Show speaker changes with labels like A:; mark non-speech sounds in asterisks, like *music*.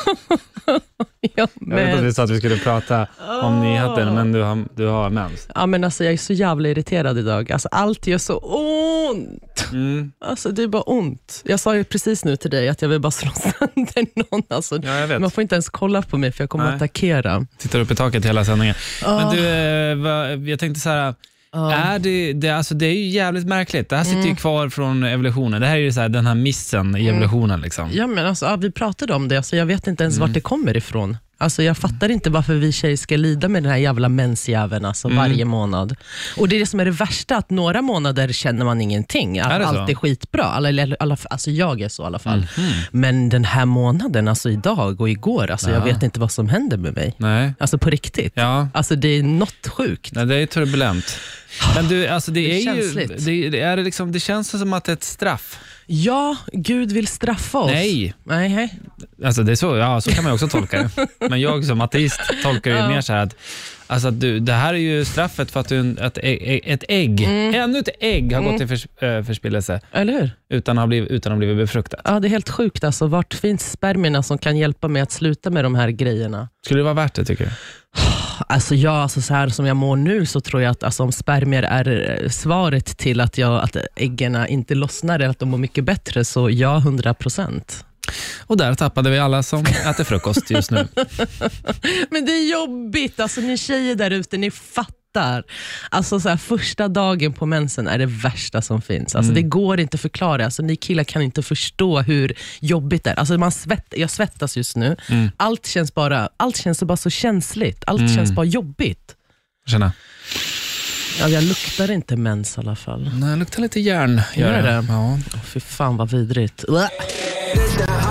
A: *laughs* ja,
B: Jag vet att
A: men,
B: vi sa att vi skulle prata om nyheten, men du har, du har mens.
A: ja, men alltså, jag är så jävla irriterad idag. Alltså, allt gör så ont.
B: Mm.
A: Alltså, det är bara ont. Jag sa ju precis nu till dig att jag vill bara slå *laughs* sönder någon. Alltså,
B: Ja, jag vet.
A: man får inte ens kolla på mig för jag kommer
B: Nej.
A: att attackera.
B: Tittar upp i taket hela sändningen. Men du, eh, vad- jag tänkte så här. Är det, det, alltså det är ju jävligt märkligt. Det här
A: Mm.
B: sitter ju kvar från evolutionen. Det här är ju så här, den här missen i evolutionen. Liksom.
A: Ja, men alltså, ja, vi pratade om det, alltså, jag vet inte ens
B: Mm.
A: vart det kommer ifrån. Alltså, jag fattar inte varför vi tjejer ska lida med den här jävla mensjäveln alltså,
B: Mm.
A: varje månad. Och Det är det som är det värsta, att några månader känner man ingenting.
B: Är
A: Att
B: det så? Mhm.
A: allt är skitbra. Alla, eller, alla, alltså, jag är så i alla fall. Men den här månaden, alltså idag och igår, alltså, jag
B: Ja.
A: vet inte vad som händer med mig.
B: Nej.
A: Alltså på riktigt.
B: Ja.
A: Alltså Det är något sjukt.
B: Nej, det är turbulent. Men du, alltså det,
A: Det är
B: är, ju...
A: känsligt.
B: Det, det är det, liksom, det känns som att det är ett straff.
A: Ja, Gud vill straffa oss.
B: Nej.
A: Nej, nej.
B: Alltså det är så, ja, så kan man ju också tolka det. Men jag som ateist tolkar det ju mer så här att, alltså att du, det här är ju straffet för att, du, att ä- ä- ett ägg, ännu ett ägg har gått till förs, eh, förspillelse
A: Eller hur?
B: utan att ha blivit, utan att ha blivit befruktat.
A: Ja, det är helt sjukt. Alltså. Vart finns spermierna som kan hjälpa mig att sluta med de här grejerna?
B: Skulle det vara värt det tycker du?
A: Alltså, jag, alltså så här som jag mår nu så tror jag att alltså, om spermier är eh, svaret till att, jag, att äggen inte lossnar eller att de mår mycket bättre, så ja, 100 procent.
B: Och där tappade vi alla som äter frukost just nu.
A: Men det är jobbigt. Alltså, ni tjejer där ute, ni fattar. Alltså, så här, första dagen på mensen är det värsta som finns. Alltså,
B: Mm.
A: Det går inte att förklara. Alltså, ni killar kan inte förstå hur jobbigt det är. Alltså, man svett, jag svettas just nu.
B: Mm.
A: Allt känns bara allt känns bara så känsligt. Allt känns bara jobbigt.
B: Känna.
A: Ja, jag luktar inte mens i alla fall.
B: Nej, det luktar lite järn.
A: Gör det?
B: Ja.
A: Åh, fy fan vad vidrigt. Uah.